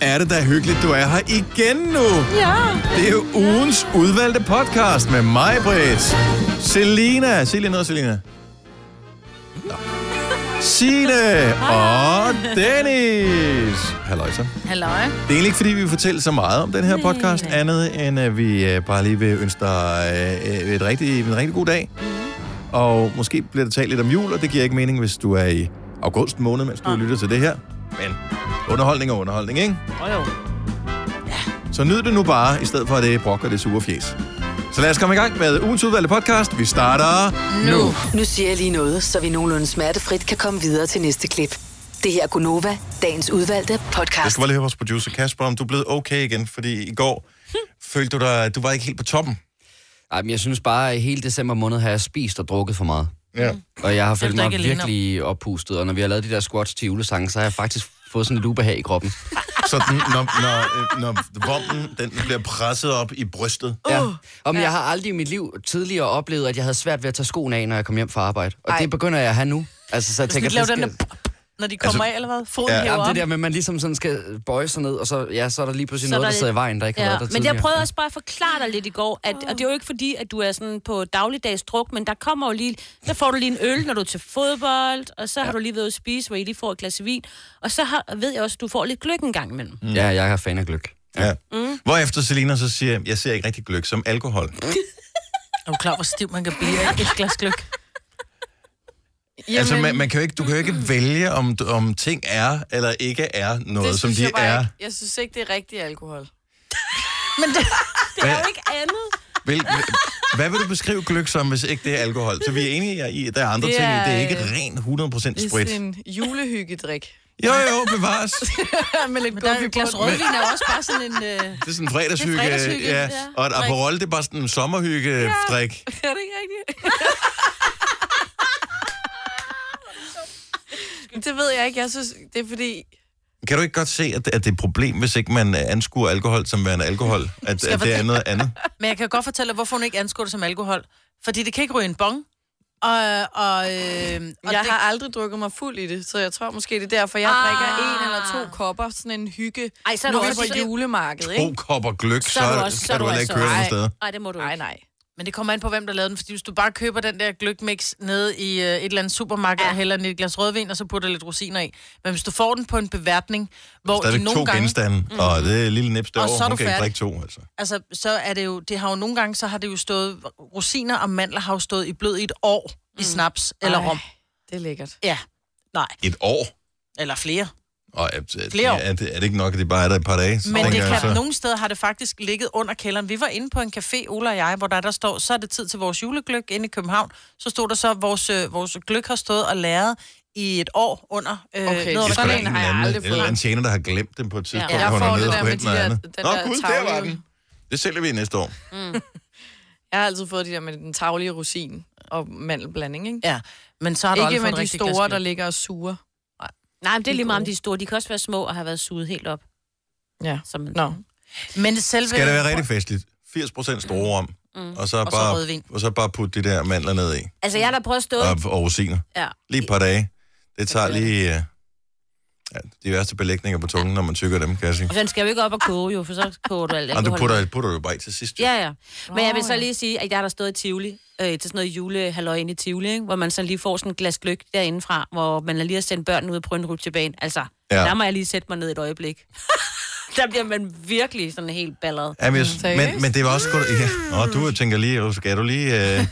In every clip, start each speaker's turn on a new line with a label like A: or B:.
A: er det da hyggeligt, du er her igen nu.
B: Ja.
A: Det er jo ugens udvalgte podcast med mig, Britt. Selina. Sig lige noget, Selina. Nå. Signe og Dennis. Halløj så.
B: Halløj.
A: Det er egentlig ikke, fordi vi vil fortælle så meget om den her podcast, andet end at vi øh, bare lige vil ønske dig øh, øh, et rigtig, en rigtig god dag. Og måske bliver der talt lidt om jul, og det giver ikke mening, hvis du er i august måned, mens du lytter til det her. Men underholdning er underholdning, ikke?
B: Oh, jo.
A: Så nyd det nu bare, i stedet for at det brokker det sure fjes. Så lad os komme i gang med ugens udvalgte podcast. Vi starter nu. nu.
C: Uh. Nu siger jeg lige noget, så vi nogenlunde smertefrit kan komme videre til næste klip. Det her er Gunova, dagens udvalgte
A: Jeg
C: podcast.
A: skal bare lige høre vores producer Kasper, om du er blevet okay igen, fordi i går følte du dig, at du var ikke helt på toppen.
D: Ej, men jeg synes bare, at hele december måned har jeg spist og drukket for meget.
A: Ja.
D: Og jeg har
B: er
D: følt
B: du
D: mig
B: ikke alene om.
D: virkelig oppustet, og når vi har lavet de der squats til julesangen, så har jeg faktisk fået sådan lidt ubehag i kroppen.
A: Så den, når, når, øh, når vommen den bliver presset op i brystet.
D: Ja. Og men jeg har aldrig i mit liv tidligere oplevet, at jeg havde svært ved at tage skoene af, når jeg kom hjem fra arbejde. Og Ej. det begynder jeg at have nu. Altså, så jeg
B: Du skal
D: tænker,
B: ikke lave den
D: skal-
B: der... Når de
A: Altså-
B: kommer altså, af, eller hvad? Foden
A: Ja.
B: ja,
D: Jamen,
B: hæver
D: det
B: op.
D: der med, at man ligesom sådan skal bøje sig ned, og så, ja, så er der lige pludselig
E: Så
D: noget,
E: der
D: der,
E: er
D: sidder i
E: lidt-
D: vejen, der ikke har
E: Ja,
D: været der
E: men jeg
D: tidligere.
E: prøvede også bare at forklare dig lidt i går, at, og det er jo ikke fordi, at du er sådan på dagligdags druk, men der kommer jo lige, der får du lige en øl, når du er til fodbold, og så har du lige været ude at spise, hvor I lige får et glas vin, og så har, ved jeg også, at du får lidt gløk en gang imellem. Mm.
D: Ja, jeg er fan af gløk.
A: Ja. Mm. Hvorefter Selina så siger, jeg ser ikke rigtig gløk som alkohol.
B: Er du klar, hvor stiv man kan blive af et glas gløk?
A: Jamen. Altså, man, man kan jo ikke, du kan jo ikke vælge, om, om ting er eller ikke er noget, som de
F: jeg bare
A: er.
F: Ikke. Jeg synes ikke, det er rigtig alkohol.
E: Det er
A: Hvad-
E: jo ikke andet.
A: Hvil, hvad vil du beskrive gløk som, hvis ikke det er alkohol? Så vi er enige i, at der er andre
F: Det
A: ting i.
F: er,
A: Det er ikke
F: øh,
A: ren 100%
F: Det er
A: sprit.
F: sådan en julehyggedrik.
A: Jo, jo, bevares.
F: med lidt
B: Men der er jo et glas rødvin er jo også bare sådan en... Øh...
A: Det er sådan en fredagshygge.
F: Det er fredagshygge,
A: ja.
F: ja.
A: Og et Aperol, det er bare sådan en sommerhygge-drik.
F: Er det ikke rigtigt? Men det ved jeg ikke. Jeg synes, det er fordi...
A: Kan du ikke godt se, at, at det er et problem, hvis ikke man øh, anskuer alkohol som værende alkohol? At, at det er noget andet?
B: Men jeg kan godt fortælle dig, hvorfor hun ikke anskuer det som alkohol. Fordi det kan ikke ryge en bong. Og, og, øh, og
F: Jeg
B: det,
F: har aldrig drukket mig fuld i det, så jeg tror måske, det er derfor, jeg
E: Ah.
F: drikker en eller to kopper. Sådan en hygge.
E: Ej, så er
F: nu
E: du
F: er vi
E: også
F: på
E: lidt-
F: julemarkedet,
A: To
F: ikke?
A: kopper gløk, så,
E: Så er du
A: så,
E: også-
A: så
E: så er
A: kan du
E: du
A: heller ikke
E: altså-
A: køre nogen
F: Ej.
A: steder.
E: Nej, det må du
F: Nej,
E: ikke.
F: nej.
B: men det kommer an på, hvem der lavede den. Fordi hvis du bare køber den der gløkmix nede i øh, et eller andet supermarked, ja. og hælder den i et glas rødvin, og så putter lidt rosiner i. Men hvis du får den på en beværtning, hvor de
A: Stadigvæk to
B: nogle gange...
A: genstande, og det er et lille nips
B: Og så
A: derovre.
B: er
A: Hun
B: du
A: kan ikke
B: færdig.
A: drikke to, altså.
B: Altså, så er det jo... Det har jo nogle gange, så har det jo stået... Rosiner og mandler har jo stået i blød i et år mm. i snaps eller
F: Ej,
B: rom.
F: Det er lækkert.
B: Ja. Nej.
A: Et år?
B: Eller flere.
A: Og er,
B: Flere år.
A: er, det, er det ikke nok, at det bare er der et par dage? Så
B: Men det
A: tænker jeg
B: kan, altså- nogle steder har det faktisk ligget under kælderen. Vi var inde på en café, Ola og jeg, hvor der, der står, så er det tid til vores julegløk inde i København. Så stod der så, at vores, øh, vores gløk har stået og læret i et år under. Øh,
F: Okay,
B: ned
A: Det
B: under
A: er sgu da
F: sådan
B: sådan
A: en
F: en
A: eller
F: har jeg
A: anden,
F: aldrig
A: en eller
F: fået.
A: anden tjener, der har glemt den på et tidspunkt.
F: Ja.
A: Ja,
F: Jeg får
A: jeg
F: det
A: nede
F: der
A: og
F: med
A: hente
F: de
A: noget
F: der-
A: andet.
F: den
A: Nå,
F: der
A: gud, der var
F: tavle.
A: den. Det sælger vi næste år.
F: Jeg har altid fået de der med den tavlige rosin og mandelblanding, ikke?
B: Ja, men så har du
F: Ikke
B: aldrig
F: med
B: fået et
F: de
B: rigtigt glas
F: store,
B: gløgg.
F: der ligger og suger.
E: Nej, men det er lige meget om de er store. De kan også være små og have været suget helt op.
F: Ja.
E: Som en...
F: Nå.
B: Men selve...
A: Skal det være rigtig festligt? 80% store rom.
F: Mm.
A: Og så,
B: så
A: bare,
B: rødvin.
A: og så bare putte de der mandler ned i.
E: Altså, jeg har da prøvet at stå...
A: Og, og rosiner.
E: Ja.
A: Lige et par dage. Det tager lige... øh, Ja, de værste belægninger på tungen, når man tykker dem, kan jeg sige.
E: Og den skal jo ikke op og koge, jo, for så koger du alt
A: Og du
E: alkohol.
A: putter, putter du bare i til sidst. jo.
E: Ja, ja. Men jeg vil
F: Nå,
E: så
F: ja.
E: lige sige, at jeg har da stået i Tivoli, øh, til sådan noget julehalløj inde i Tivoli, ikke? hvor man så lige får sådan et glas gløk derindefra, hvor man lige har sendt børnene ud på en rutsjebane. Altså,
A: Ja.
E: ja. der må jeg lige sætte mig ned et øjeblik. der bliver man virkelig sådan helt balleret.
A: Jamen, jeg, synes- men,
F: Mm, Seriøst?
A: men det var også godt... Ja. Nå, du tænker lige, "Åh, skal du lige... Øh,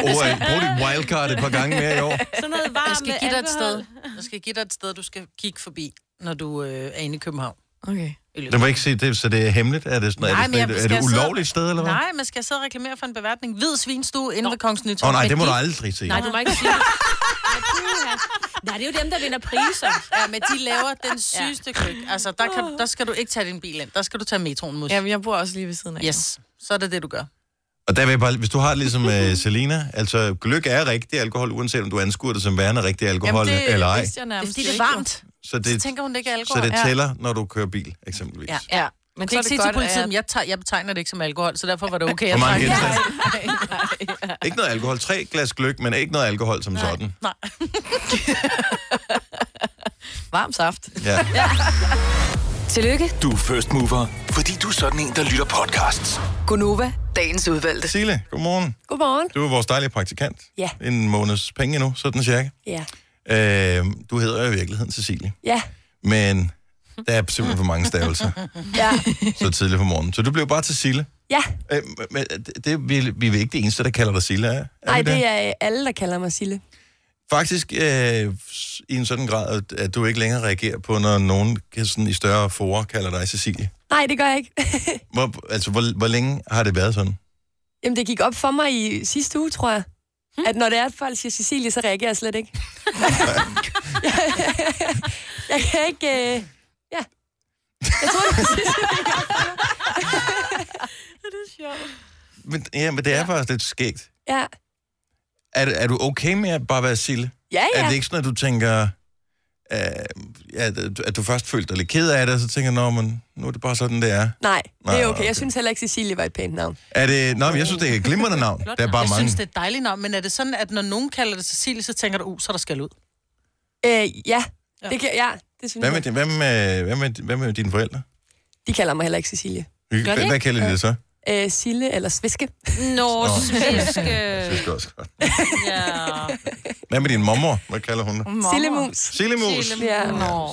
A: bruge, øh, bruge dit wildcard et par gange mere i år?
E: Sådan noget varmt
B: Jeg skal give dig et
E: alkohol.
B: sted. Jeg skal give dig et sted, du skal kigge forbi, når du øh, er inde i København.
F: Okay.
A: Det må ikke sige, det, så det er hemmeligt? Er det, sådan, er det,
B: men jeg-
A: sådan, er
B: skal
A: det, er
B: jeg
A: det
B: sidde-
A: ulovligt sted, eller hvad?
B: Nej, men skal jeg sidde og reklamere for en beværtning? Hvid svinstue inde ved Kongens
A: Åh
B: Nytorv.
A: oh, nej,
B: Men
A: det må du
B: de-
A: aldrig sige.
E: Nej, du må ikke sige det. Nej, puha. Nej, det er jo dem, der vinder priser.
B: Ja, men de laver den sygeste ja. køk. Altså, der, kan, der skal du ikke tage din bil ind. Der skal du tage metroen mod.
F: Jamen, jeg bor også lige ved siden af.
B: Yes, så er det det, du gør.
A: Og der vil jeg bare, hvis du har det ligesom uh, Selina, altså gløk er rigtig alkohol, uanset om du anskuer det som værende rigtig alkohol Jamen, det, eller ej.
F: vidste jeg
B: Det er
F: nærmest
B: fordi, det er
F: ikke, jo.
B: varmt.
A: Så
B: Så
A: det,
B: tænker hun, det ikke er alkohol.
A: så det
B: ja.
A: tæller, når du kører bil, eksempelvis. Ja.
B: Ja.
F: Ja, men
B: Jeg kan
F: så er
B: ikke
F: det
B: sige
F: godt,
B: til politiet,
F: at-
B: at... jeg, tager, jeg betegner det ikke som alkohol, så derfor var det okay.
A: Hvor
B: Jeg
A: mange
B: drak.
A: genstande? Ikke noget alkohol. Tre glas gløk, men ikke noget alkohol som nej. sådan.
B: Nej.
F: Varm saft.
A: Ja.
C: Tillykke,
G: Du er first mover, fordi du er sådan en, der lytter podcasts.
C: Gunova, dagens udvalgte.
A: Sile, godmorgen.
H: Godmorgen.
A: Du er vores dejlige praktikant.
H: Ja.
A: En måneds penge nu, sådan cirka.
H: Ja.
A: Øh, du hedder jo i virkeligheden Cecilie,
H: Ja.
A: men der er simpelthen for mange stavelser
H: Ja.
A: så tidligt på morgenen. Så du blev bare til Sille.
H: ja.
A: Øh, men det, det, vi, vi er ikke det eneste, der kalder dig Sille, er, er
H: Nej,
A: vi
H: det er øh, alle, der kalder mig Sille.
A: Faktisk øh, s- i en sådan grad, at- at du ikke længere reagerer på, når nogen kan sådan, i større forer kalder dig Cecilie.
H: Nej, det gør jeg ikke.
A: Hvor, altså, hvor, hvor længe har det været sådan?
H: Jamen, det gik op for mig i sidste uge, tror jeg. At når det er, at folk siger Cecilie, så reagerer jeg slet ikke. jeg kan ikke... Øh... Ja. Jeg tror, det var sidste
A: Men, ja, men det er ja. faktisk lidt skægt.
H: Ja.
A: Er, er du okay med at bare være Sille?
H: Ja,
A: Er det
H: ja.
A: ikke sådan, at du tænker, øh, at, at du først følte dig lidt ked af det, og så tænker, nå, men nu er det bare sådan, det er?
H: Nej, det
A: Nej,
H: er
A: okay.
H: okay. Jeg synes heller ikke, Cecilie var et pænt navn.
A: er det, nå, men jeg synes, det er et glimrende navn. Der er bare
B: Jeg
A: mange.
B: synes, det er et dejligt navn, men er det sådan, at når nogen kalder det Cecilie, så tænker du, uh, så er der skal ud?
H: Øh, ja. Det kan, ja, det synes
A: Hvad med,
H: jeg.
A: din- hvad, med, hvad, med, hvad med dine forældre?
H: De kalder mig heller ikke Cecilie.
A: Hvad,
E: det
A: hvad kalder de det så?
H: Øh, Sille eller Sviske.
E: Nå, svenske.
A: Det synes jeg også godt.
E: Ja.
A: Hvad med din mormor? Hvad kalder hun dig?
H: Sillemus.
A: Sillemus.
H: Ja.
F: Nå.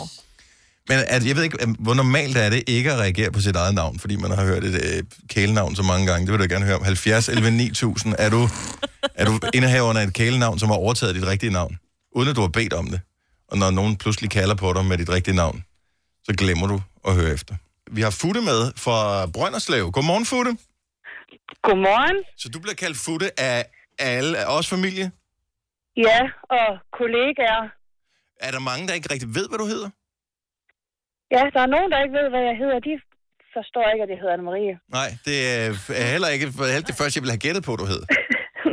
A: Men at, jeg ved ikke, at, hvor normalt er det ikke at reagere på sit eget navn, fordi man har hørt et øh, kælenavn så mange gange. Det vil du gerne høre om. 70, 11, 9000. Er du, er du indehaveren af et kælenavn, som har overtaget dit rigtige navn, uden at du har bedt om det? Og når nogen pludselig kalder på dig med dit rigtige navn, så glemmer du at høre efter. Vi har Futte med fra Brønderslev. Godmorgen, Futte.
I: Godmorgen.
A: Så du bliver kaldt Futte af alle, af os familie.
I: Ja, og kollegaer.
A: Er der mange, der ikke rigtig ved, hvad du hedder?
I: Ja, der er nogen, der ikke ved, hvad jeg hedder. De forstår ikke, at jeg hedder Anne-Marie.
A: Nej, det er er heller ikke heller det første, jeg ville have gættet på, du hed.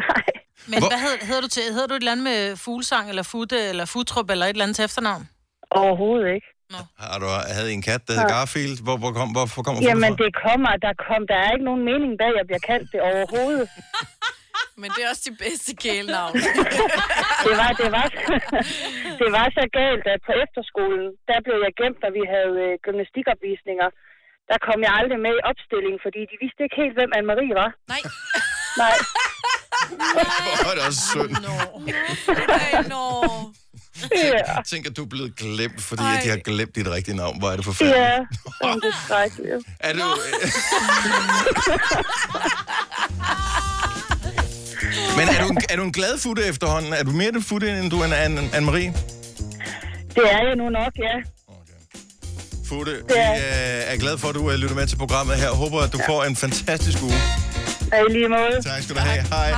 I: Nej.
B: Men
A: Hvor-
B: Hvor... hvad hedder, hedder du til? Hedder du et eller andet med fuglesang, eller futte, eller futrup, eller et eller andet til efternavn?
I: Overhovedet ikke.
A: Har du havde I en kat, der hed Garfield? Hvor, hvor kom, hvorfor kommer
I: Jamen,
A: fra?
I: det kommer. Der, kom, der er ikke nogen mening bag, at jeg bliver kaldt det overhovedet.
F: Men det er også de bedste kælenavn.
I: Det var, det var, det var så galt, at på efterskolen, der blev jeg gemt, da vi havde øh, gymnastikopvisninger. Der kom jeg aldrig med i opstillingen, fordi de vidste ikke helt, hvem Anne-Marie var.
F: Nej.
I: Nej.
A: Hvor er det også synd.
F: Ej, nå.
I: Ja,
A: Tænk, at du er blevet glemt, fordi at de har glemt dit rigtige navn. Hvor er det forfærdeligt.
I: ja. Som det er skrækkeligt.
A: Er du... Men er du, en, er du en glad futte efterhånden? Er du mere den futte, end du er en Anne- Anne-Marie?
I: Det er jeg nu nok, ja.
A: Futte, vi
I: Ja.
A: øh, er glad for, at du øh, lytter med til programmet her. Håber, at du får en fantastisk uge.
I: Og i lige måde.
A: Tak skal du have. Hej.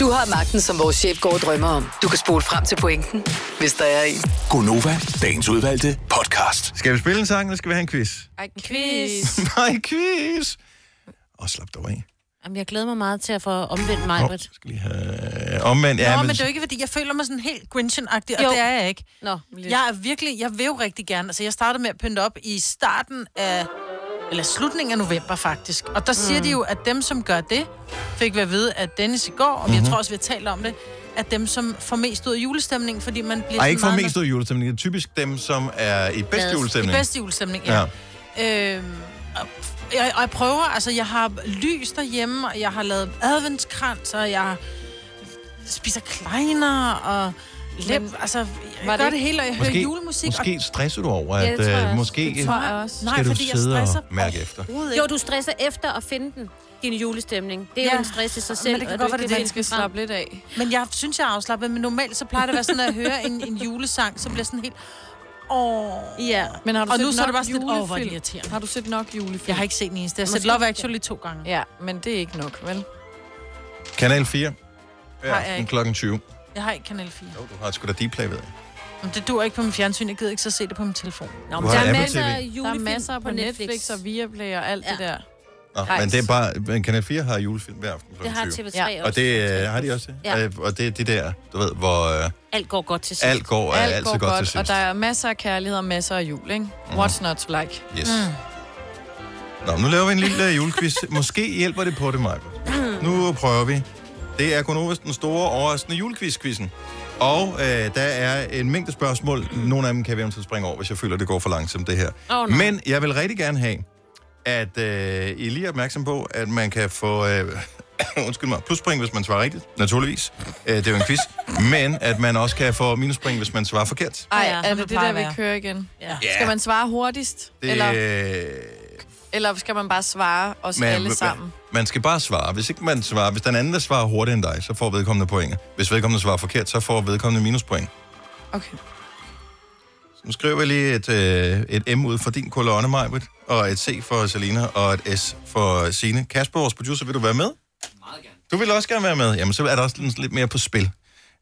C: Du har magten, som vores chef går og drømmer om. Du kan spole frem til pointen, hvis der er en.
G: Gonova, dagens udvalgte podcast.
A: Skal vi spille en sang, eller skal vi have en quiz?
F: Ej, quiz.
A: Nej, quiz! Og slap dig af.
E: Jamen, jeg glæder mig meget til at få omvendt mig,
A: Nå,
E: Britt.
A: skal lige have... Omvendt, ja,
B: Nå,
A: men...
B: men, det er jo ikke, fordi jeg føler mig sådan helt Grinchen-agtig, og
E: Jo.
B: det er jeg ikke.
E: Nå.
B: Jeg er virkelig, jeg vil jo rigtig gerne, altså jeg startede med at pynte op i starten af, eller slutningen af november faktisk. Og der siger
A: Mm.
B: de jo, at dem som gør det, fik vi at vide at Dennis i går, og
A: Mhm.
B: mm-hmm. jeg tror også vi har talt om det, at dem som får mest ud af julestemningen, fordi man bliver
A: Ej,
B: sådan
A: ikke for
B: meget
A: mest ud af julestemningen. Det er typisk dem, som er i bedst julestemning.
B: I bedste julestemning, ja. ja. Øhm, og, jeg, og jeg prøver, altså jeg har lys derhjemme, og jeg har lavet adventskrans, og jeg spiser kleiner, og lem, altså jeg gør det, det hele, og jeg måske, hører julemusik. og,
A: Måske stresser du over,
E: Ja,
A: at
E: det tror jeg
A: ja,
E: også.
A: måske
F: Det tror jeg også.
B: nej,
A: skal du
B: fordi jeg
A: sidde
B: stresser
A: og mærke efter.
E: Jo, du stresser efter at finde den, din julestemning. Det er ja. jo
B: Ja.
E: en stress i sig
B: Men
E: selv,
B: det kan
E: at
B: godt
E: du
B: være,
E: ikke
B: det
E: kan
B: er
F: Den
E: finde
F: skal
E: den frem.
F: slappe lidt af.
B: Men jeg synes, jeg er afslappet, men normalt så plejer det at være sådan, at jeg hører en, en julesang, så bliver jeg sådan helt... Åh.
E: Ja.
F: Men har du
B: Og
F: set
B: nu så
F: nok
B: er det bare sådan lidt, åh, hvor er det
F: julefilm?
B: irriterende.
F: Har du set nok julefilm?
B: Jeg har ikke set den eneste. Jeg har set Love Actually to gange.
F: Ja, men det er ikke nok, vel?
A: Kanal 4. Ja,
B: Har jeg
A: aften
B: ikke.
A: klokken 20.
B: Jeg har ikke Kanal 4.
A: Jo, du har sgu da Dplay, ved jeg.
B: Men det dur ikke på min fjernsyn. Jeg gider ikke så se det på min telefon.
E: Nå,
A: Du
E: men
A: har
E: der er
A: Apple
E: masser
A: TV.
E: af
F: Der er
E: julefilm
F: masser på Netflix og Viaplay og alt ja. det der.
A: Nå,
F: Hej.
A: men det er bare... Men Kanal 4 har julefilm hver aften
E: Det
A: klokken
E: har
A: 20.
E: TV3
F: Ja.
E: ja.
A: Og det øh, har de også, ja.
E: Ja.
A: Øh, Og det er det der, du ved, hvor øh,
E: Alt går godt til sidst.
A: alt går er
F: Alt
A: altid
F: går
A: godt, til
F: godt, og
A: sidst. Mhm.
F: der er masser af kærlighed og masser af jul, ikke? What's not to like?
A: Yes.
E: Mm.
A: Nå, nu laver vi en lille øh, julequiz. Måske hjælper det på det, Maja. Nu prøver vi. Det er kun den store overraskende julequiz-quizzen. Og øh, der er en mængde spørgsmål. Nogle af dem kan vi eventuelt springe over, hvis jeg føler, det går for langsomt, det her.
E: Åh, nej.
A: Men jeg vil rigtig gerne have, at øh, I lige er opmærksom på, at man kan få... Øh, undskyld mig, pluspring, hvis man svarer rigtigt, naturligvis. Øh, det er jo en quiz. Men at man også kan få minuspring, hvis man svarer forkert.
F: Ej,
B: Ja,
F: ja, er
B: som
F: det det
B: det plejer
F: der, vi
B: at være.
F: kører igen?
B: Ja.
F: Skal man svare hurtigst?
A: Det,
F: Eller,
A: øh,
F: eller skal man bare svare os
A: Man-
F: alle
A: man-
F: sammen?
A: Man skal bare svare. Hvis ikke man svarer, hvis den anden der svarer hurtigere end dig, så får vedkommende point. Hvis vedkommende svarer forkert, så får vedkommende minuspoint.
F: Okay.
A: Så nu skriver jeg lige et, øh, et M ud for din kolonne, Majbrit, og et C for Selina, og et S for Sine. Kasper, vores producer, vil du være med? Meget gerne. Du vil også gerne være med. Jamen, så er der også sådan lidt mere på spil.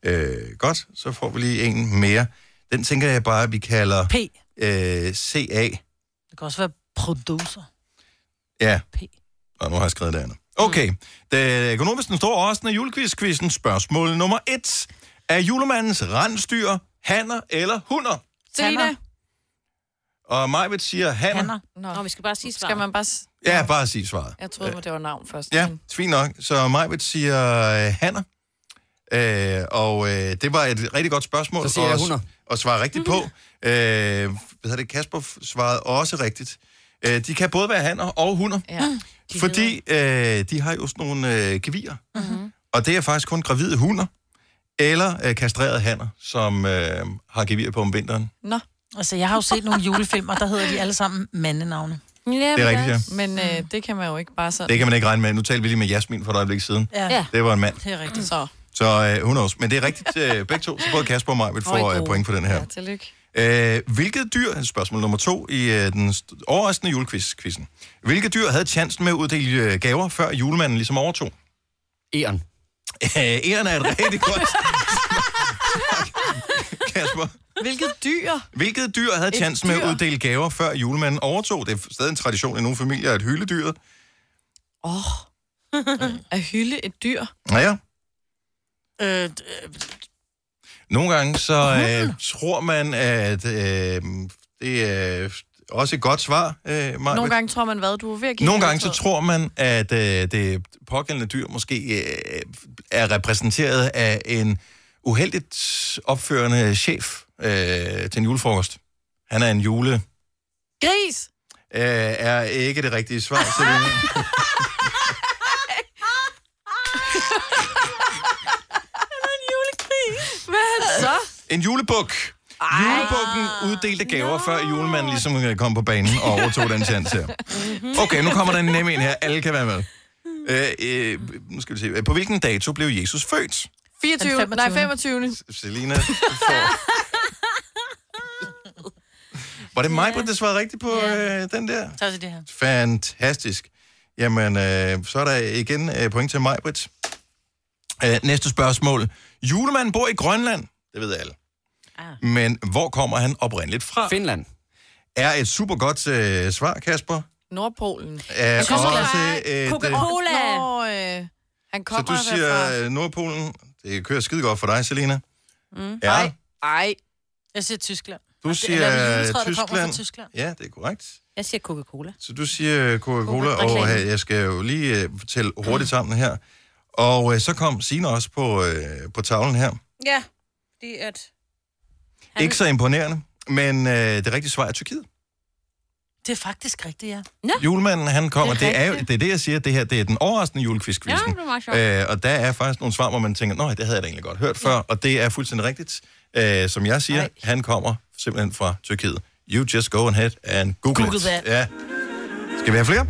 A: Øh, godt, så får vi lige en mere. Den tænker jeg bare, at vi kalder
B: P.
A: øh, CA.
B: Det kan også være producer.
A: Ja.
B: P. Mm.
A: Og nu har jeg skrevet det andet. Okay. Det økonomisk den store årsende julequiz-quizzen. Spørgsmål nummer et. Er julemandens rensdyr hanner eller hunder?
F: Tina?
A: Og Majbet siger hanner.
B: Hanner.
F: Nå,
E: Nå, vi skal bare sige svaret.
F: skal man bare... s-
A: Ja, bare sig svaret.
F: Jeg troede, det var navn først.
A: Ja,
F: men-
A: fint nok. Så Majbet siger øh, hanner. Øh, og øh, det var et rigtig godt spørgsmål.
D: Så siger jeg
A: og-
D: hunder.
A: Og svare rigtigt på.
B: Mm-hmm.
A: Øh, hvad hedder det? Kasper f- svarede også rigtigt. Øh, de kan både være hanner og hunder.
F: Ja.
B: Mm.
A: De fordi øh, de har jo sådan nogle øh, gevier. Mm-hmm. Og det er faktisk kun gravide hunder, eller øh, kastrerede hanner, som øh, har gevier på om vinteren.
F: Nå,
B: Altså, jeg har jo set nogle julefilmer, der hedder de alle sammen mandenavne.
A: Det er rigtigt, ja.
F: men
B: Mm.
F: øh, det kan man jo ikke bare sådan.
A: Det kan man ikke regne med. Nu talte vi lige med Jasmin for et øjeblik siden.
B: Ja,
E: Ja.
B: ja.
A: Det var en mand.
B: det er rigtigt.
F: Så,
A: Så øh, hun også. Men det er rigtigt øh, begge to. Så både Kasper og mig vil få øh, point på den her.
F: ja, tillykke.
A: Øh, hvilket dyr, spørgsmål nummer to i øh, den st- overraskende julequiz-quizzen. Hvilket dyr havde chancen med at uddele øh, gaver, før julemanden ligesom overtog?
D: Eren.
A: Øh, Eren er et rigtig godt... Kasper.
F: Hvilket dyr?
A: Hvilket dyr havde chancen med
F: dyr?
A: at uddele gaver, før julemanden overtog? Det er stadig en tradition i nogle familier, at hylde dyret.
F: Åh, oh. at hylde et dyr.
A: Naja,
B: Øh,
A: nogle gange så øh, tror man, at øh, det er også et godt svar, øh, Maja.
F: Nogle gange tror man, hvad du er ved at give.
A: Nogle gange så tror man, at øh, det pågældende dyr måske øh, er repræsenteret af en uheldigt opførende chef øh, til en julefrokost. Han er en jule... Øh,
F: Gris!
A: er ikke det rigtige svar, Selina.
F: Så?
A: En julebuk. Julebukken uddelte gaver, no. før julemanden ligesom øh, kom på banen og overtog den chance her. Okay, nu kommer der en nem en her. Alle kan være med. Øh, øh, nu skal vi se. På hvilken dato blev Jesus født?
F: 24.
B: Den 25..
F: Nej, 25.
A: Selina får... Var det mig, der svarede rigtigt på øh, den der?
B: så til det her.
A: Fantastisk. Jamen, øh, så er der igen øh, point til mig, Britt. Øh, næste spørgsmål. Julemanden bor i Grønland. Det ved alle. Ah. Men hvor kommer han oprindeligt fra?
D: Finland.
A: Er et super godt øh, svar, Kasper.
F: Nordpolen.
A: Er
E: kommer
A: også et, øh,
E: Coca-Cola.
F: Nå, øh, han
A: så
F: kommer
A: du siger øh, Nordpolen. Det kører skide godt for dig, Selina. Mm. Ja,
F: Ej. Ej,
B: Jeg siger Tyskland.
A: du
B: Eller
A: siger øh,
B: juletræet, der kommer fra
A: Tyskland.
B: Tyskland.
A: Ja, det er korrekt.
E: Jeg siger Coca-Cola.
A: Så du siger øh, Coca-Cola,
E: Coca-Cola.
A: og øh, jeg skal jo lige øh, fortælle hurtigt sammen her. Og øh, så kom Signe også på, øh, på tavlen her.
E: Ja, fordi at... Han-
A: Ikke så imponerende, men øh, det rigtige svar er Tyrkiet.
B: Det er faktisk rigtigt, ja.
A: Julemanden, han kommer. Det er, jo, det er det, jeg siger. Det her det er den overraskende julequiz ja,
E: meget
A: øh, Og der er faktisk nogle svar, hvor man tænker, nej, det havde jeg da egentlig godt hørt før. Og det er fuldstændig rigtigt. Øh, som jeg siger, Ej. han kommer simpelthen fra Tyrkiet. You just go ahead and google,
B: Google
A: it.
B: that.
A: Ja. Skal vi have flere?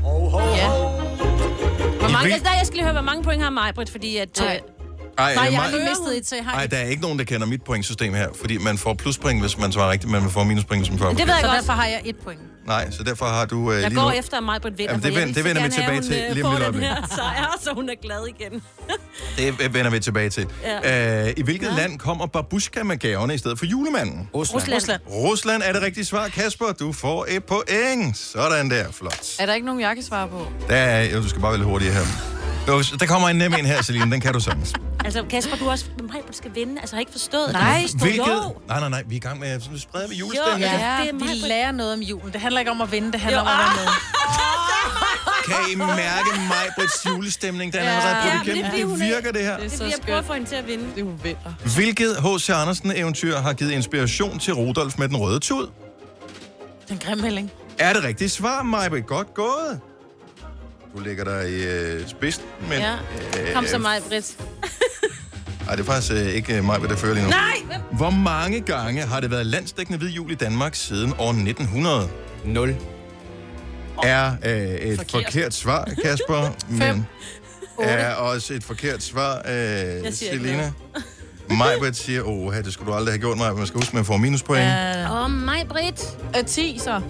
F: ja.
E: Hvor mange,
A: vil-
E: altså, der, jeg skal lige høre, hvor mange point har Majbrit, fordi at... Øh,
A: Ej,
B: Nej, jeg
A: Maja-
B: har lige mistet et, så jeg har
A: Nej, der er ikke nogen, der kender mit pointsystem her, fordi man får pluspring, hvis man svarer rigtigt, men man får minuspoint, hvis man svarer
E: det ved
A: forkert.
E: jeg
B: Så
E: godt.
B: derfor har jeg et point.
A: Nej, så derfor har du øh,
E: Jeg
A: lige
E: går
A: nu...
E: efter, at Majbrit vinder,
A: Jamen, det
E: for jeg
A: vend- det
E: vil så
A: vender vi
E: gerne have,
A: tilbage
E: hun,
A: til
E: øh,
A: lige om
E: får
A: et
E: den
A: øjeblik.
E: her sejr, så hun er glad igen.
A: Det vender vi tilbage til. Ja. Øh, I hvilket ja. land kommer babushka med gaverne i stedet for julemanden?
D: Rusland.
E: Rusland.
B: Rusland.
A: Rusland er det rigtige svar, Kasper. Du får et point. Sådan der, flot.
F: Er der ikke nogen, jeg kan svare på?
A: Der er, jo, du skal bare vælge hurtigt her. Jo, Der kommer en nem en her, Celine. Den kan du sagtens.
E: Altså, Kasper, du er også... Men Majbrit skal vinde. Altså, jeg har ikke forstået.
F: Nej.
E: Jeg har ikke forstået. Jo.
A: Nej, nej, nej. Vi er i gang med at sprede med
E: Jo,
A: julestemning.
E: ja.
A: Ja.
E: Det
B: Ja, Ah.
E: er
B: vi
E: mig, Britt.
B: lærer noget om julen. Det handler ikke om at vinde, det handler om at være med.
A: Kan I mærke mig på julestemning? Den er
E: Ja.
A: allerede
E: Ja,
A: brudt
E: men det er
A: igennem.
E: fordi,
A: Det
E: hun er-
A: virker, det her.
F: Det er
E: Det
F: så
E: bliver jeg prøver
F: skønt.
E: at få hende til at vinde.
F: Det er hun vinder.
A: Hvilket H.C. Andersen-eventyr har givet inspiration til Rudolf med den røde tud?
B: Den grimme melding.
A: Er det rigtigt svar, Majbrit? Godt gået. Du ligger der i øh, spidsen, men...
E: Ja.
A: øh,
E: Kom så mig, Britt.
A: Nej, det er faktisk øh, ikke øh, Majbrit, der fører lige nu.
E: Nej! hvem-
A: Hvor mange gange har det været landsdækkende hvid jul i Danmark siden år 1900?
D: 0.
A: Er øh, et forkert.
B: Forkert.
A: forkert svar, Kasper, men er også et forkert svar, øh,
E: Jeg siger ikke
A: Selina. Majbrit siger, åh, det skulle du aldrig have gjort, Majbrit. Man skal huske, man får minuspoint.
B: Uh,
E: Åh, mig, Britt.
F: Øh, 10 så.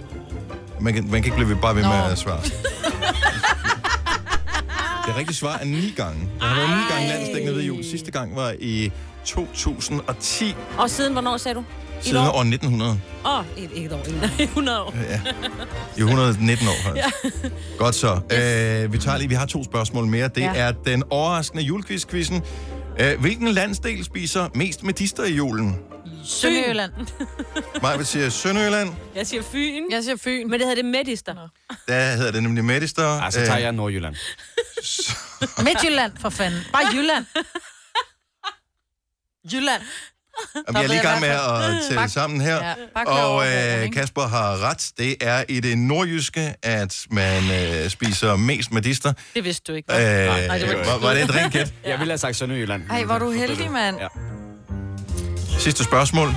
A: Man kan, man kan ikke blive ved, bare ved med
B: Nå.
A: at svare. Det rigtige svar er ni gange. Der har været ni gange landstækkende ved jul. Sidste gang var i 2010,
E: Og siden hvornår sagde du? I
A: siden år 1900.
E: Åh, oh, ikke et år. i 100 år.
A: Ja. I 119 år, faktisk. Godt så. Øh, vi tager lige, vi har to spørgsmål mere. Det
E: Ja.
A: er den overraskende julequiz-quizzen. Øh, hvilken landsdel spiser mest medister i julen?
B: Sønderjylland.
A: Maja siger Sønderjylland.
E: Jeg siger Fyn.
F: Jeg siger Fyn.
E: Men det hedder det Medister.
A: Der hedder det nemlig medister.
J: Ej, Ah, så
D: Øh.
J: tager jeg Nordjylland.
B: Midtjylland, for fanden. Bare Jylland. Jylland.
A: Jamen, jeg Øh, er lige i
B: Der
A: gang
B: ved
A: med
B: jeg
A: at tælle sammen her.
F: Ja, bare klar
A: Og
F: over det,
A: øh,
F: ikke?
A: Kasper har ret. Det er i det nordjyske, at man øh, spiser mest medister.
B: Det vidste du ikke.
A: Øh,
B: nej, det var ikke
A: var, var det et rent gæt?
J: Jeg ville have sagt Sønderjylland.
F: Ej, hvor er du heldig, mand.
J: Ja.
A: Sidste spørgsmål.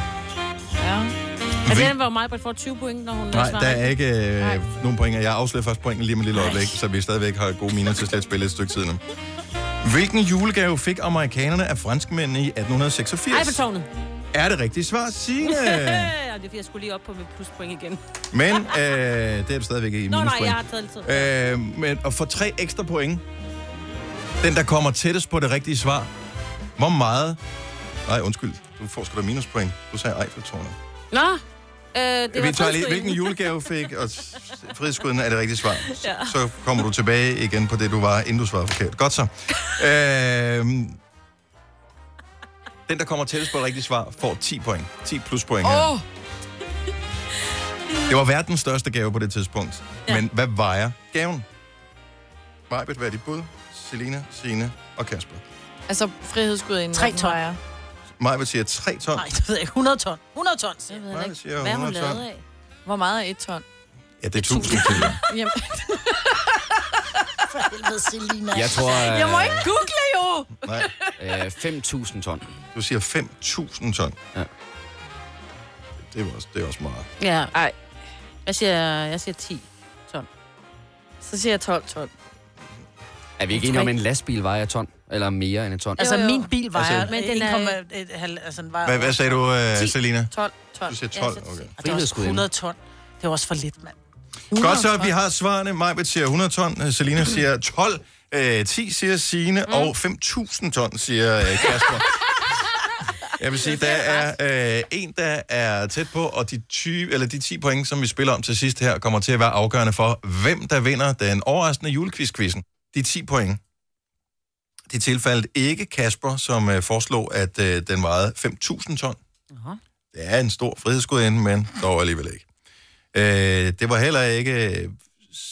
F: Ja.
E: Og
A: Hvil-
E: den var jo Altså, mig, Britt får 20 point, når hun
A: Nej,
E: svarer.
A: der er ikke øh, nogen pointer. Jeg afslører først pointen lige om et lille øjeblik, så vi stadigvæk har gode miner til slet spille et stykke tid nu. Hvilken julegave fik amerikanerne af franskmændene i
E: Ej, på
A: 1886?
E: tårnet.
A: Er det rigtigt svar, Signe?
E: Øh, og det er fordi, jeg skulle lige op på mit pluspoint igen.
A: Men øh, det er du stadigvæk i
E: Nå nej,
A: minuspoint.
E: jeg har taget lidt tid.
A: Øh, men at få tre ekstra point. Den, der kommer tættest på det rigtige svar. Hvor meget... Nej, undskyld. Du får sgu da minuspoint. Du sagde Eiffeltårnet.
E: Nå, øh, det var
A: Vi tager lige,
E: pluspoint.
A: hvilken julegave fik, og fridskuden er det rigtige svar. Ja. Så kommer du tilbage igen på det, du var, inden du svarede forkert. Godt så. Øhm, den, der kommer tættest på det rigtige svar, får 10 point. 10 plus point her.
E: Oh.
F: Åh,
A: Det var verdens største gave på det tidspunkt. Ja. Men hvad vejer gaven? Majbet, hvad er dit bud? Selina, Signe og Kasper.
F: altså frihedsgudinden.
B: Tre ton.
F: Jeg.
A: Majbet siger 3 ton.
B: Nej, det ved jeg ikke. 100 ton. 100 ton, siger
E: Jeg
B: jeg.
E: ved
A: Nej,
E: heller
A: siger
E: ikke, hvad hun
A: 100 ton.
E: lavede af.
F: Hvor meget er et ton?
A: Ja, det er 1000 kilo.
F: Jamen,
B: For helvede, Selina.
D: Jeg tror,
F: jeg må ikke google jo!
A: Nej,
D: øh, 5.000 ton.
A: du siger 5.000 ton.
D: Ja.
A: Det er også, det er også meget.
E: Ja.
F: Ej.
E: Jeg siger, jeg siger 10.
F: Så siger jeg 12 ton.
D: Er vi ikke enige om, at en lastbil vejer et ton? Eller mere end et ton?
B: Altså,
F: Jo, jo.
B: min bil vejer...
A: Altså-
B: Altså,
E: Men
B: men
E: den er-
B: Altså, den vejer...
A: Hvad, hvad sagde du, øh, Selina?
F: 12 ton.
A: Du siger
E: Ja,
A: 12,
E: så-
A: okay.
B: Det er også
D: Frihedsgudinde.
B: 100 ton. Det er også for lidt, mand.
A: Godt så, vi har svarene. Majbet siger 100 ton, øh, Selina siger 12, øh, 10 siger Signe, mm. og 5.000 ton siger øh, Kasper. Jeg vil sige, der er øh, en, der er tæt på, og de, 20, eller de 10 point, som vi spiller om til sidst her, kommer til at være afgørende for, hvem der vinder den overraskende julequiz-quizzen. De 10 point. De tilfaldt ikke Kasper, som øh, foreslog, at øh, den vejede 5.000 ton. Det er en stor frihedsgudinde, men dog alligevel ikke. Øh, det var heller ikke øh,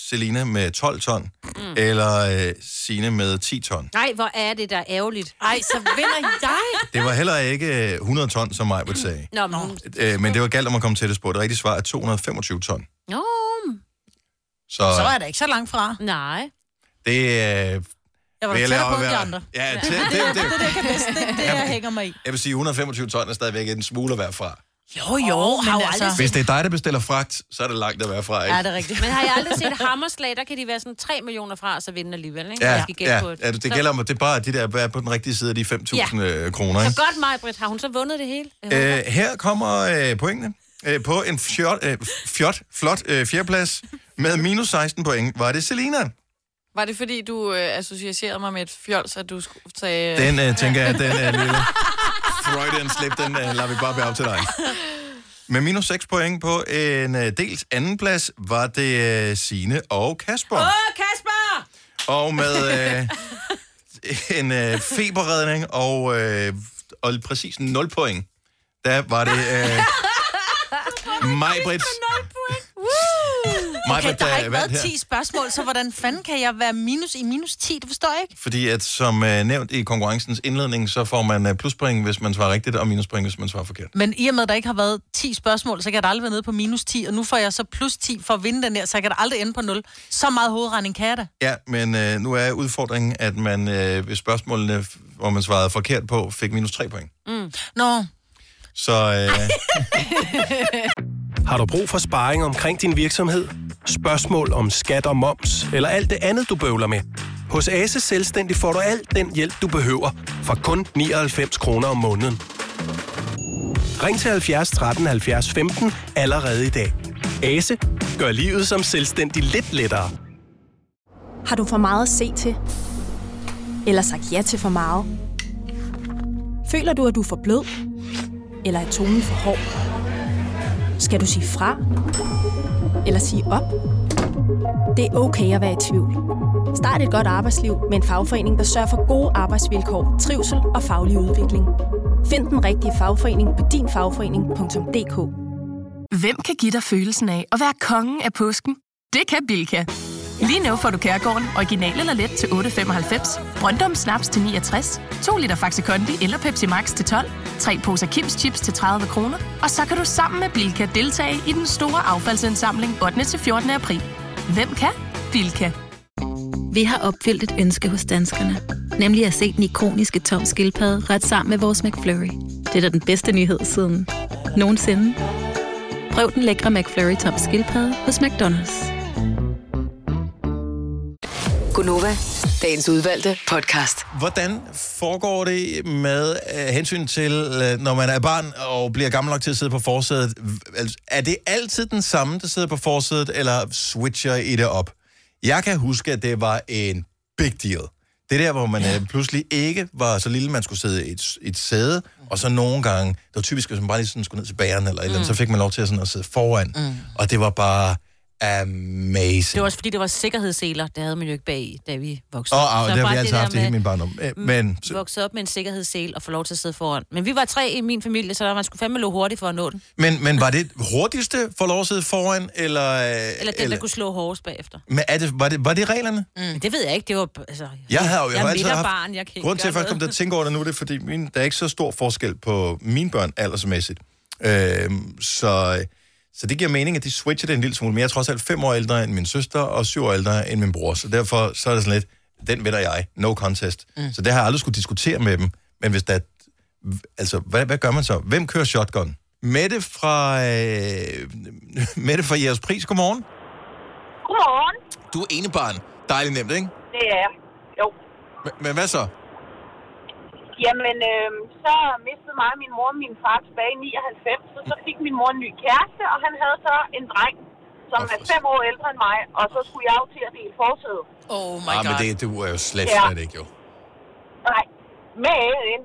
A: Selina med 12 ton, mm. eller øh, Sine med 10 ton.
E: Nej, hvor er det der ærgerligt.
B: Ej, så vinder jeg.
A: Det var heller ikke øh, 100 ton, som mig
B: Mm.
A: ville sige.
E: Nå, men hun...
A: Øh, men det var galt om at komme tættest på. Det rigtige svar er 225 ton.
E: Nå, mm,
A: Så,
B: Så er det ikke så langt fra.
E: nej.
A: det øh,
B: Jeg var
A: vil jeg
B: da tættere
A: lade
B: på end
A: være.
B: de andre.
A: Ja, det, det, det,
B: Det kan bedst, det er det, jeg hænger mig i.
A: jeg vil sige, 125 ton er stadigvæk en smule at være fra.
B: Jo, jo, oh,
E: har
B: men
E: jo
B: altså...
E: aldrig
A: Hvis det er dig, der bestiller fragt, så er det langt at være fra, ikke?
B: Ja, det er rigtigt.
E: Men har jeg aldrig set hammerslag, der kan de være sådan 3 millioner fra, og så vinde alligevel, ikke? Jeg
A: Ja,
E: skal gætte
A: ja,
E: på
A: ja, det det gælder om, at det er bare de der er på den rigtige side af de 5.000 ja. kroner.
E: Så,
A: Ikke?
E: så godt mig, Britt. Har hun så vundet det hele? Øh,
A: Øh, her kommer øh, pointene. Øh, på en fjot, øh, fjot, flot øh, fjerdeplads med minus 16 point var det Selina.
F: Var det fordi, du øh, associerede mig med et fjols, at du skulle tage... Øh,
A: Den øh, tænker jeg, den er lille. Freudian slip, den øh, lader vi bare være op til dig. Med minus 6 point på en øh, dels anden plads var det øh, Sine og Kasper. Åh, Kasper! Og med øh, en øh, feberredning og, øh, og præcis 0 point, der var det... Øh, Majbrits,
B: Okay,
A: Majbrit,
B: der har
A: øh,
B: ikke
A: vandt
B: været
A: her.
B: 10 spørgsmål, så hvordan fanden kan jeg være minus i minus 10? Det forstår jeg ikke.
A: Fordi at som øh, nævnt i konkurrencens indledning, så får man øh, pluspoint, hvis man svarer rigtigt, og minuspoint, hvis man svarer forkert.
B: Men i og med, at der ikke har været 10 spørgsmål, så kan jeg da aldrig være nede på minus 10, og nu får jeg så plus 10 for at vinde den her, så jeg kan da aldrig ende på 0. Så meget hovedregning kan jeg da.
A: Ja, men øh, nu er udfordringen, at man øh, ved spørgsmålene, hvor man svarede forkert på, fik minus 3 point.
B: Mm. Nå.
A: Så øh,
K: Har du brug for sparring omkring din virksomhed? Spørgsmål om skat og moms, eller alt det andet, du bøvler med? Hos Ase Selvstændig får du alt den hjælp, du behøver, for kun 99 kroner om måneden. Ring til 70 13 70 15 allerede i dag. Ase gør livet som selvstændig lidt lettere.
L: Har du for meget at se til? Eller sagt ja til for meget? Føler du, at du er for blød? Eller er tonen for hård? Skal du sige fra? Eller sige op? Det er okay at være i tvivl. Start et godt arbejdsliv med en fagforening, der sørger for gode arbejdsvilkår, trivsel og faglig udvikling. Find den rigtige fagforening på dinfagforening.dk
M: Hvem kan give dig følelsen af at være kongen af påsken? Det kan Bilka! Lige nu får du Kærgården original eller let til 8.95, Brøndum Snaps til 69, 2 liter Faxi Kondi eller Pepsi Max til 12, 3 poser Kims Chips til 30 kroner, og så kan du sammen med Bilka deltage i den store affaldsindsamling 8. til 14. april. Hvem kan? Bilka.
N: Vi har opfyldt et ønske hos danskerne. Nemlig at se den ikoniske tom skildpadde ret sammen med vores McFlurry. Det er da den bedste nyhed siden nogensinde. Prøv den lækre McFlurry tom skildpadde hos McDonald's.
C: Gunova, dagens udvalgte podcast.
A: hvordan foregår det med øh, hensyn til, øh, når man er barn og bliver gammel nok til at sidde på forsædet? V- altså, Er det altid den samme, der sidder på forsædet, eller switcher I det op? Jeg kan huske, at det var en big deal. Det der, hvor man øh, pludselig ikke var så lille, man skulle sidde i et, s- i et sæde, og så nogle gange, det var typisk, hvis man bare lige sådan skulle ned til bageren eller et eller andet, så
E: Mm.
A: fik man lov til at, sådan, at sidde foran, mm. og det var bare amazing.
E: Det var også fordi, det var sikkerhedsseler. Det havde man jo ikke bag, i, da vi voksede
A: Åh,
E: op.
A: oh, oh,
E: Så
A: det har
E: bare
A: vi altid
E: der
A: haft i hele
E: med- Mm.
A: min barndom. Øh, Men
E: voksede op med en sikkerhedssel og få lov til at sidde foran. Men vi var tre i min familie, så der man skulle fandme løbe hurtigt for at nå den.
A: Men, men var det hurtigste for lov at sidde foran, eller...
E: Eller den, der kunne slå hårdest bagefter.
A: Men er det, var, det, var det reglerne?
E: Mm. Det ved jeg ikke. Det var, altså,
A: Jeg havde jo
E: jeg er
A: altid haft...
E: midterbarn, jeg kan ikke
A: Grunden til, at jeg
E: gøre
A: først kom til
E: noget.
A: at tænke over det nu, det er, fordi min, der er ikke så stor forskel på mine børn aldersmæssigt. Øhm, så, så det giver mening, at de switcher det en lille smule. Men jeg er trods alt fem år ældre end min søster, og syv år ældre end min bror. Så derfor så er det sådan lidt, den vinder jeg. No contest. Mm. Så det har jeg aldrig skulle diskutere med dem. Men hvis der... Altså, hvad, hvad gør man så? Hvem kører shotgun? Mette fra... Øh, Mette fra jeres pris, godmorgen.
O: Godmorgen.
A: Du er enebarn. Dejligt nemt, ikke?
O: Det er jeg. Jo.
A: Men, men hvad så?
O: Jamen, øh, så mistede mig og min mor og min far tilbage i 99, og så fik min mor en ny kæreste, og han havde så en dreng, som er fem år ældre end mig, og så skulle jeg jo til at dele forsædet.
B: Oh
A: ah, men det, det er jo slet,
O: Ja.
A: slet ikke, jo.
O: Nej, men,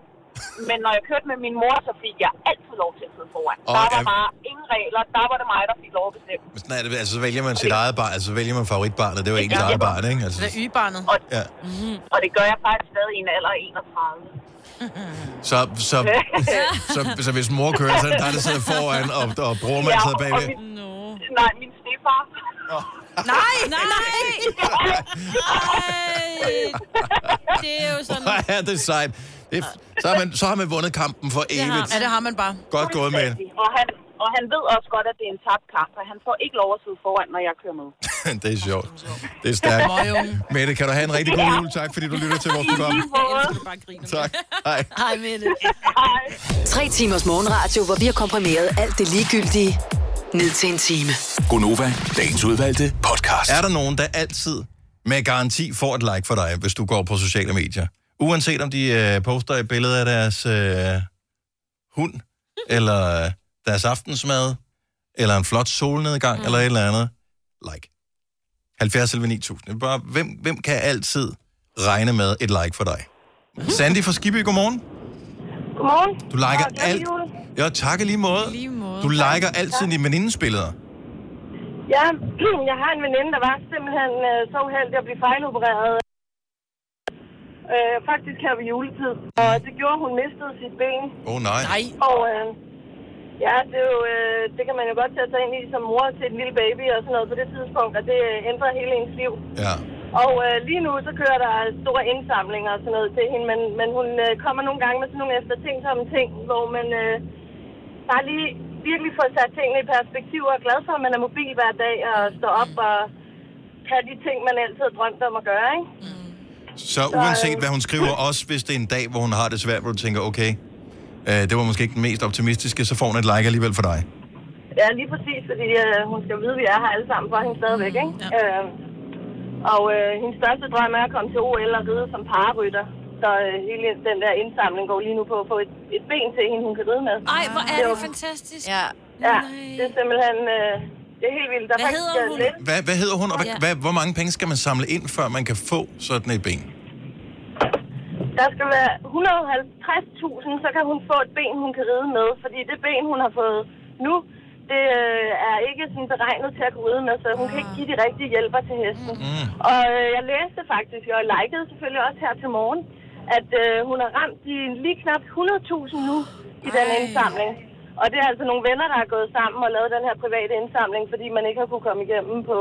O: men når jeg kørte med min mor, så fik jeg altid lov til at sidde foran.
A: Og
O: der var
A: er-
O: bare ingen regler, der var det mig, der fik lov at bestemme.
A: Men sådan er det, altså, så vælger man sit eget barn, altså så vælger man favoritbarnet, det var ens eget barn, ikke? Altså,
B: ygebarnet.
O: Og,
A: ja.
O: mm-hmm. og det gør jeg faktisk stadig i en alder af 31.
A: så, så, så, så, hvis mor kører, så er det dig, der sidder foran, og, og bror man sidder
O: og
A: bagved.
O: Min, Nej, min stefar.
E: Nej, nej! Ej, det er jo sådan...
A: Hvor er det sejt. Det, er f- så, har man, så har man vundet kampen for evigt.
B: Ja, det har man bare.
A: Godt gået, med.
O: Og han, og han ved også godt, at det er en tabt kamp, og han får ikke lov at sidde foran, når jeg kører med.
A: det er sjovt. Det er stærkt.
O: Møgunge.
A: Mette, kan du have en rigtig god jul. Tak, fordi du lytter til vores program. Tak. Hej.
B: Hej med det.
C: Tre timers morgenradio, hvor vi har komprimeret alt det ligegyldige ned til en time.
G: Gonova, dagens udvalgte podcast.
A: Er der nogen, der altid med garanti får et like for dig, hvis du går på sociale medier? Uanset om de øh, poster et billede af deres øh, hund, eller øh, deres aftensmad, eller en flot solnedgang, mm. eller et eller andet. Like. 70 eller 9000. Det er Bare, hvem, hvem kan altid regne med et like for dig? Sandy fra Skibby, godmorgen.
O: Godmorgen.
A: Du liker alt. Ja, tak i lige måde.
O: Lige måde.
A: Du liker altid dine venindens billeder.
O: Ja, jeg har en veninde, der var simpelthen øh, så uheldig at blive fejlopereret. Øh, faktisk her ved juletid. Og det gjorde, at hun mistede sit ben.
A: Åh oh, nej.
O: Og øh,
P: Ja, det, er jo, øh, det kan man jo godt tage sig ind i som mor til et lille baby og sådan noget på det tidspunkt, og det øh, ændrer hele ens liv.
A: Ja.
P: Og øh, lige nu, så kører der store indsamlinger og sådan noget til hende, men, men hun øh, kommer nogle gange med sådan nogle eftertænksomme ting, hvor man øh, bare lige virkelig får sat tingene i perspektiv og er glad for, at man er mobil hver dag og står op og kan de ting, man altid har drømt om at gøre, ikke?
A: Så uanset hvad hun skriver, også hvis det er en dag, hvor hun har det svært, hvor du tænker, okay, øh, det var måske ikke den mest optimistiske, så får hun et like alligevel for dig.
P: Ja, lige præcis, fordi øh, hun skal vide, at vi er her alle sammen for hende stadigvæk, ikke? Ja. Øh, og øh, hendes største drøm er at komme til OL og ride som pararytter. Så øh, hele den der indsamling går lige nu på at få et, et ben til hende, hun kan ride med.
E: Ej, hvor er det
P: var-
E: fantastisk.
P: Ja, ja det er simpelthen... Øh, det er helt vildt. Der er
E: Hvad
P: faktisk,
E: hedder
P: øh,
E: hun?
P: lidt-
A: Hvad, hvad hedder hun, og
P: Ja.
A: hvad, hvad, hvor mange penge skal man samle ind, før man kan få sådan et ben?
P: Der skal være 150.000, så kan hun få et ben, hun kan ride med. Fordi det ben, hun har fået nu, det øh, er ikke sådan beregnet til at kunne ride med, så hun kan
E: Ah.
P: ikke give de rigtige hjælper til hesten. Mm. Og øh, jeg læste faktisk, og likede selvfølgelig også her til morgen, at øh, hun har ramt de lige knap 100.000 nu i den indsamling. Og det er altså nogle venner, der er gået sammen og lavet den her private indsamling, fordi man ikke har kunne komme igennem på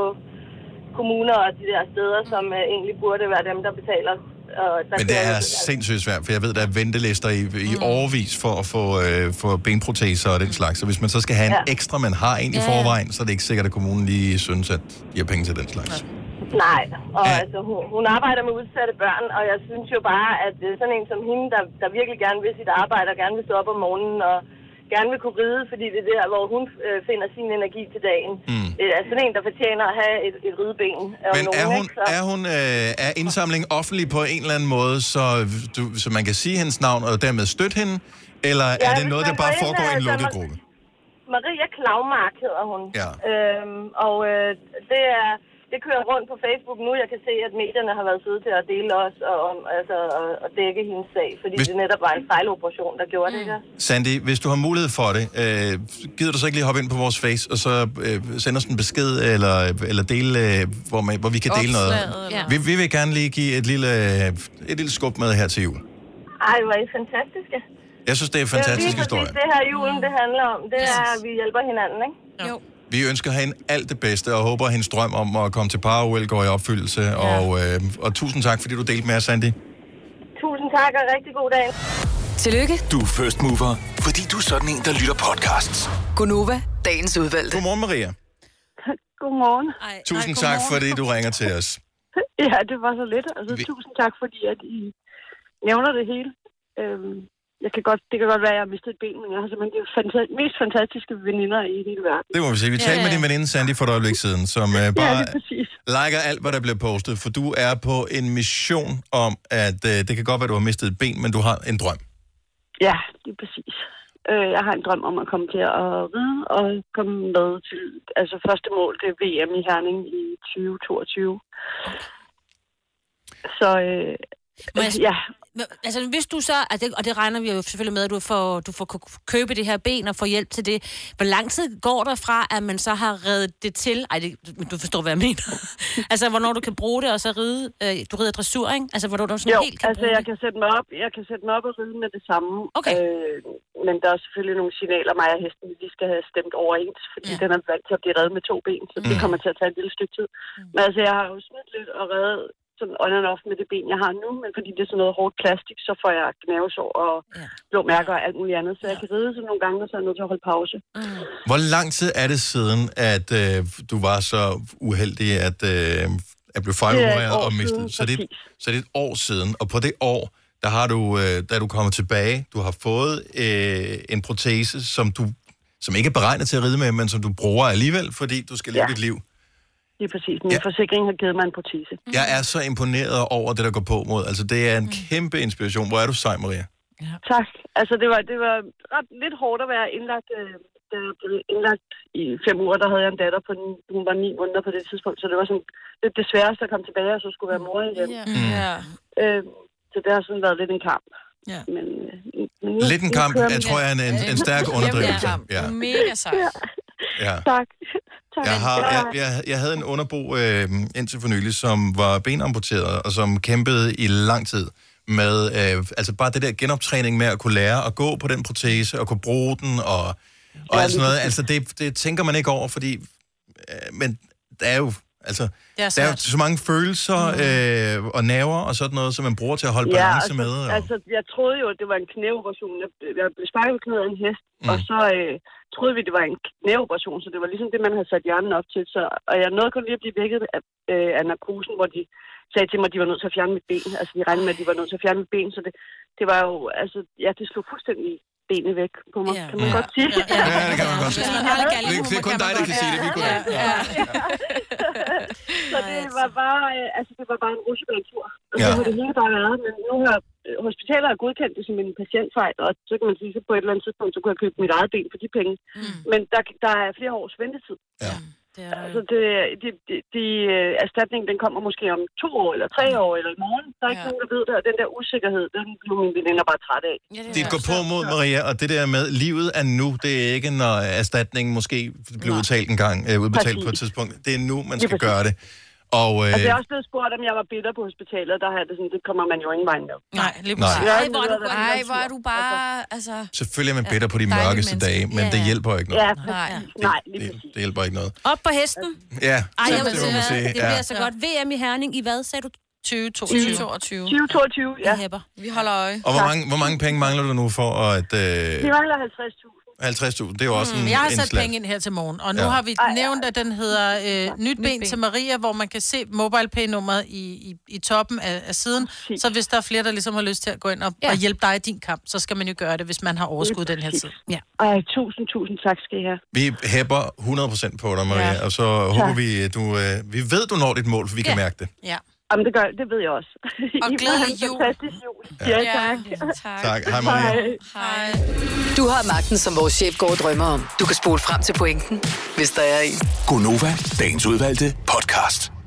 P: kommuner og de der steder, som øh, egentlig burde være dem, der betaler. Og der
A: Men det
P: kører-
A: er sindssygt svært, for jeg ved, der er ventelister i, i
P: Mm.
A: overvis for at få, øh, få benproteser og den slags. Så hvis man så skal have en
P: Ja.
A: ekstra, man har en i
P: Ja, ja.
A: forvejen, så er det ikke sikkert, at kommunen lige synes, at de har penge til den slags.
P: Nej, og altså, hun, hun arbejder med udsatte børn, og jeg synes jo bare, at øh, sådan en som hende, der, der virkelig gerne vil sit arbejde, og gerne vil stå op om morgenen, og gerne vil kunne ride, fordi det er der, hvor hun øh, finder sin energi til dagen. Mm. Det er sådan en, der fortjener at have et, et rideben. af
A: Men er
P: nogen,
A: hun,
P: ikke? Så-
A: er, hun, øh, er indsamling offentlig på en eller anden måde, så, du, så man kan sige hendes navn og dermed støtte hende? Eller ja, er
P: hvis
A: det noget,
P: man
A: der
P: går
A: bare
P: ind,
A: foregår i en
P: altså,
A: lukket
P: man-
A: gruppe?
P: Maria Klavmark hedder hun.
A: Ja.
P: Øhm, og øh, det er det kører rundt på Facebook nu. Jeg kan se, at medierne har været søde til at dele os og, om, altså, og, og dække hendes sag, fordi
A: Hvis-
P: Hvis... det netop var en fejloperation, der gjorde mm. det her.
A: Sandy, hvis du har mulighed for det, øh, gider du så ikke lige hoppe ind på vores face, og så øh, sende os en besked, eller, eller dele, øh, hvor, man, hvor vi kan dele noget?
P: Opslaget, eller-
A: Vi, vi vil gerne lige give et lille, øh, et lille skub med her til jul.
P: Ej, hvor er I fantastiske.
A: Jeg synes, det er en fantastisk historie.
P: Det er lige præcis det her julen, det handler om. Det er, at vi hjælper hinanden, ikke? Jo.
A: Vi ønsker hende alt det bedste, og håber, at hendes drøm om at komme til Parallel går i opfyldelse. Ja. Og, øh, og tusind tak, fordi du delte med os, Sandy.
P: Tusind tak, og rigtig god dag.
C: Tillykke.
G: Du er first mover, fordi du er sådan en, der lytter podcasts.
C: Gunova, dagens udvalgte.
A: Godmorgen, Maria.
Q: Godmorgen.
A: Tusind tak, fordi du ringer til os.
Q: Ja, det var så lidt. Altså,
A: Vi-
Q: vi... tusind tak, fordi at I nævner det hele. Øhm, jeg kan godt, det kan godt være, at jeg har mistet et ben, men jeg har simpelthen de fanta- mest fantastiske veninder i hele verden.
A: Det må vi sige. Vi
Q: Ja,
A: talte med
Q: ja.
A: din veninde Sandy for et øjeblik siden, som øh,
Q: Ja,
A: bare
Q: lige præcis.
A: liker alt, hvad der bliver postet, for du er på en mission om, at øh, det kan godt være, du har mistet et ben, men du har en drøm.
Q: Ja, lige præcis. Øh, jeg har en drøm om at komme til at ride og komme med til... Altså, første mål, det er VM i Herning i 2022. Så øh,
E: Må jeg,
Q: ja,
E: Men, Altså, hvis du så, og det, og det regner vi jo selvfølgelig med, at du får, du får k- købe det her ben og få hjælp til det. Hvor lang tid går der fra, at man så har reddet det til? Ej, det, men du forstår, hvad jeg mener. altså, hvornår du kan bruge det, og så ride, øh, du rider dressur, ikke? Altså, hvornår du sådan
Q: jo,
E: helt kan
Q: altså
E: bruge
Q: jeg kan, sætte mig op, jeg kan sætte mig op og ride med det samme. Okay. Øh, men der er selvfølgelig nogle signaler, mig og hesten, vi lige skal have stemt overens, fordi ja. den er vant til at blive reddet med to ben, så det kommer til at tage et lille stykke tid. Men altså, jeg har jo smidt lidt og reddet sådan on and off med det ben, jeg har nu, men fordi det er sådan noget hårdt plastik, så får jeg gnavesår og blå mærker og alt muligt andet, så jeg kan ride sådan nogle gange, og så er jeg nødt til at holde pause. Mm.
A: Hvor lang tid er det siden, at øh, du var så uheldig, at, øh, at blive
Q: Det er
A: fejlopereret
Q: et år
A: og
Q: siden,
A: mistet? Så det, så det er et år siden, og på det år, der har du, øh, der er du kommet tilbage, du har fået øh, en protese, som du som ikke er beregnet til at ride med, men som du bruger alligevel, fordi du skal leve
Q: Ja. Mhm.
A: dit liv.
Q: Lige præcis. Min ja. forsikring har givet mig en protese.
A: Jeg er så imponeret over det, der går på mod. Altså, det er en
Q: Mhm.
A: kæmpe inspiration. Hvor er du sej, Maria?
Q: Tak. Altså, det var, det var ret lidt hårdt at være indlagt. Øh, da jeg blev indlagt i fem uger, der havde jeg en datter på den, hun var ni måneder på det tidspunkt, så det var sådan lidt det sværeste at komme tilbage, og så skulle være mor igen.
B: Ja.
Q: Øh, så det har sådan været lidt en kamp.
B: Ja.
Q: Men, øh, men nu,
A: Lidt en
Q: nu
A: kamp,
Q: kører
A: jeg
Q: min-
A: tror jeg, er en, en, en stærk underdrivelse. Ja,
B: Mega sejt.
A: ja.
Q: Tak. tak.
A: Jeg, har, jeg, jeg, jeg havde en underbo øh, indtil for nylig, som var benamputeret, og som kæmpede i lang tid med øh, altså bare det der genoptræning med at kunne lære at gå på den protese, og kunne bruge den, og Og alt sådan noget, altså det, det tænker man ikke over, fordi... Øh, men der er jo... Altså,
B: Det er
A: der er jo
B: svært.
A: så mange følelser øh, og nerver og sådan noget, som man bruger til at holde balance
Q: Mm. altså,
A: med. Og...
Q: altså, jeg troede jo, at det var en knæoperation. Jeg, jeg blev sparket i knæet af en hest, mm. og så øh, troede vi, det var en knæoperation, så det var ligesom det, man havde sat hjernen op til. Så, og jeg nåede kun lige at blive vækket af, øh, af narkosen, hvor de sagde til mig, at de var nødt til at fjerne mit ben. Altså, de regnede med, at de var nødt til at fjerne mit ben, så det, det var jo, altså, ja, det slog fuldstændig benene væk på mig, yeah. kan man godt sige. Ja,
A: ja, det kan man godt sige. Det, det er kun dig, der kan sige det. Vi kunne ikke.
Q: Ja. så det var bare, øh, altså det var bare en rusjebanetur. Og så
A: Ja.
Q: har det hele bare været, men nu har øh, hospitaler har godkendt det som en patientfejl, og så kan man sige, at på et eller andet tidspunkt, så kunne jeg købe mit eget ben for de penge. Mm. Men der, der er flere års ventetid.
A: Ja.
B: Det
Q: er altså, det, de, de, de, øh, erstatningen, den kommer måske om to år, eller tre år, eller i morgen. Der er ikke ja. nogen, der ved det, og den der usikkerhed, den blev mine veninder bare træt af. Ja,
A: Det går på mod Maria, og det der med, livet er nu, det er ikke, når erstatningen måske bliver udtalt en gang, øh, udbetalt
Q: Præcis.
A: på et tidspunkt. Det er nu, man
Q: Lige
A: skal
Q: præcis.
A: gøre det. Og, øh,
Q: Altså, jeg er også blevet spurgt, om jeg var bitter på hospitalet, og der har jeg det sådan, det kommer man jo ingen vej med.
B: Nej, lige
A: Nej. præcis.
R: Ej, hvor er du, ej, hvor er du bare... Altså,
A: selvfølgelig er man bitter på de
R: Dejlige
A: mørkeste
R: mennesker.
A: dage, men
R: Ja,
A: det
R: ja.
A: hjælper jo ikke noget.
R: Ja, nej.
Q: Nej,
A: Det, det hjælper ikke noget.
E: Op på hesten.
A: Ja,
E: Ej,
A: så
E: jeg vil
A: det må
E: sige,
A: man sige.
E: det
A: Ja.
E: bliver så godt. VM i Herning, i hvad sagde du?
B: 2022.
F: 2022.
Q: 2022,
E: ja. Vi holder øje.
A: Og hvor mange, hvor mange penge mangler du nu for at... Øh,
Q: Vi mangler 50.000.
A: 50.000, det er jo også en,
B: Mm, Jeg har
A: en
B: sat
A: slat.
B: penge ind her til morgen, og nu
A: Ja.
B: ja. har vi nævnt, at den hedder øh, Nyt, Nyt ben, ben til Maria, hvor man kan se MobilePay-nummeret i, i, i toppen af, af siden. Så hvis der er flere, der ligesom har lyst til at gå ind og, ja. og hjælpe dig i din kamp, så skal man jo gøre det, hvis man har overskud den her tid. Ja.
Q: Ej, tusind, tusind tak skal I have.
A: Vi hæpper 100% på dig, Maria, ja. og så håber vi, at du... Øh, vi ved, du når dit mål, for vi ja. kan mærke det.
B: Ja.
Q: Jamen, det gør det ved jeg også.
R: Og
Q: I må
R: glædelig
Q: have en
R: jul.
Q: fantastisk jul. Ja,
R: Ja,
Q: tak.
A: Tak. Hej, Maria.
R: Hej.
C: Du har magten, som vores chef går og drømmer om. Du kan spole frem til pointen, hvis der er en.
G: Gonova, dagens udvalgte podcast.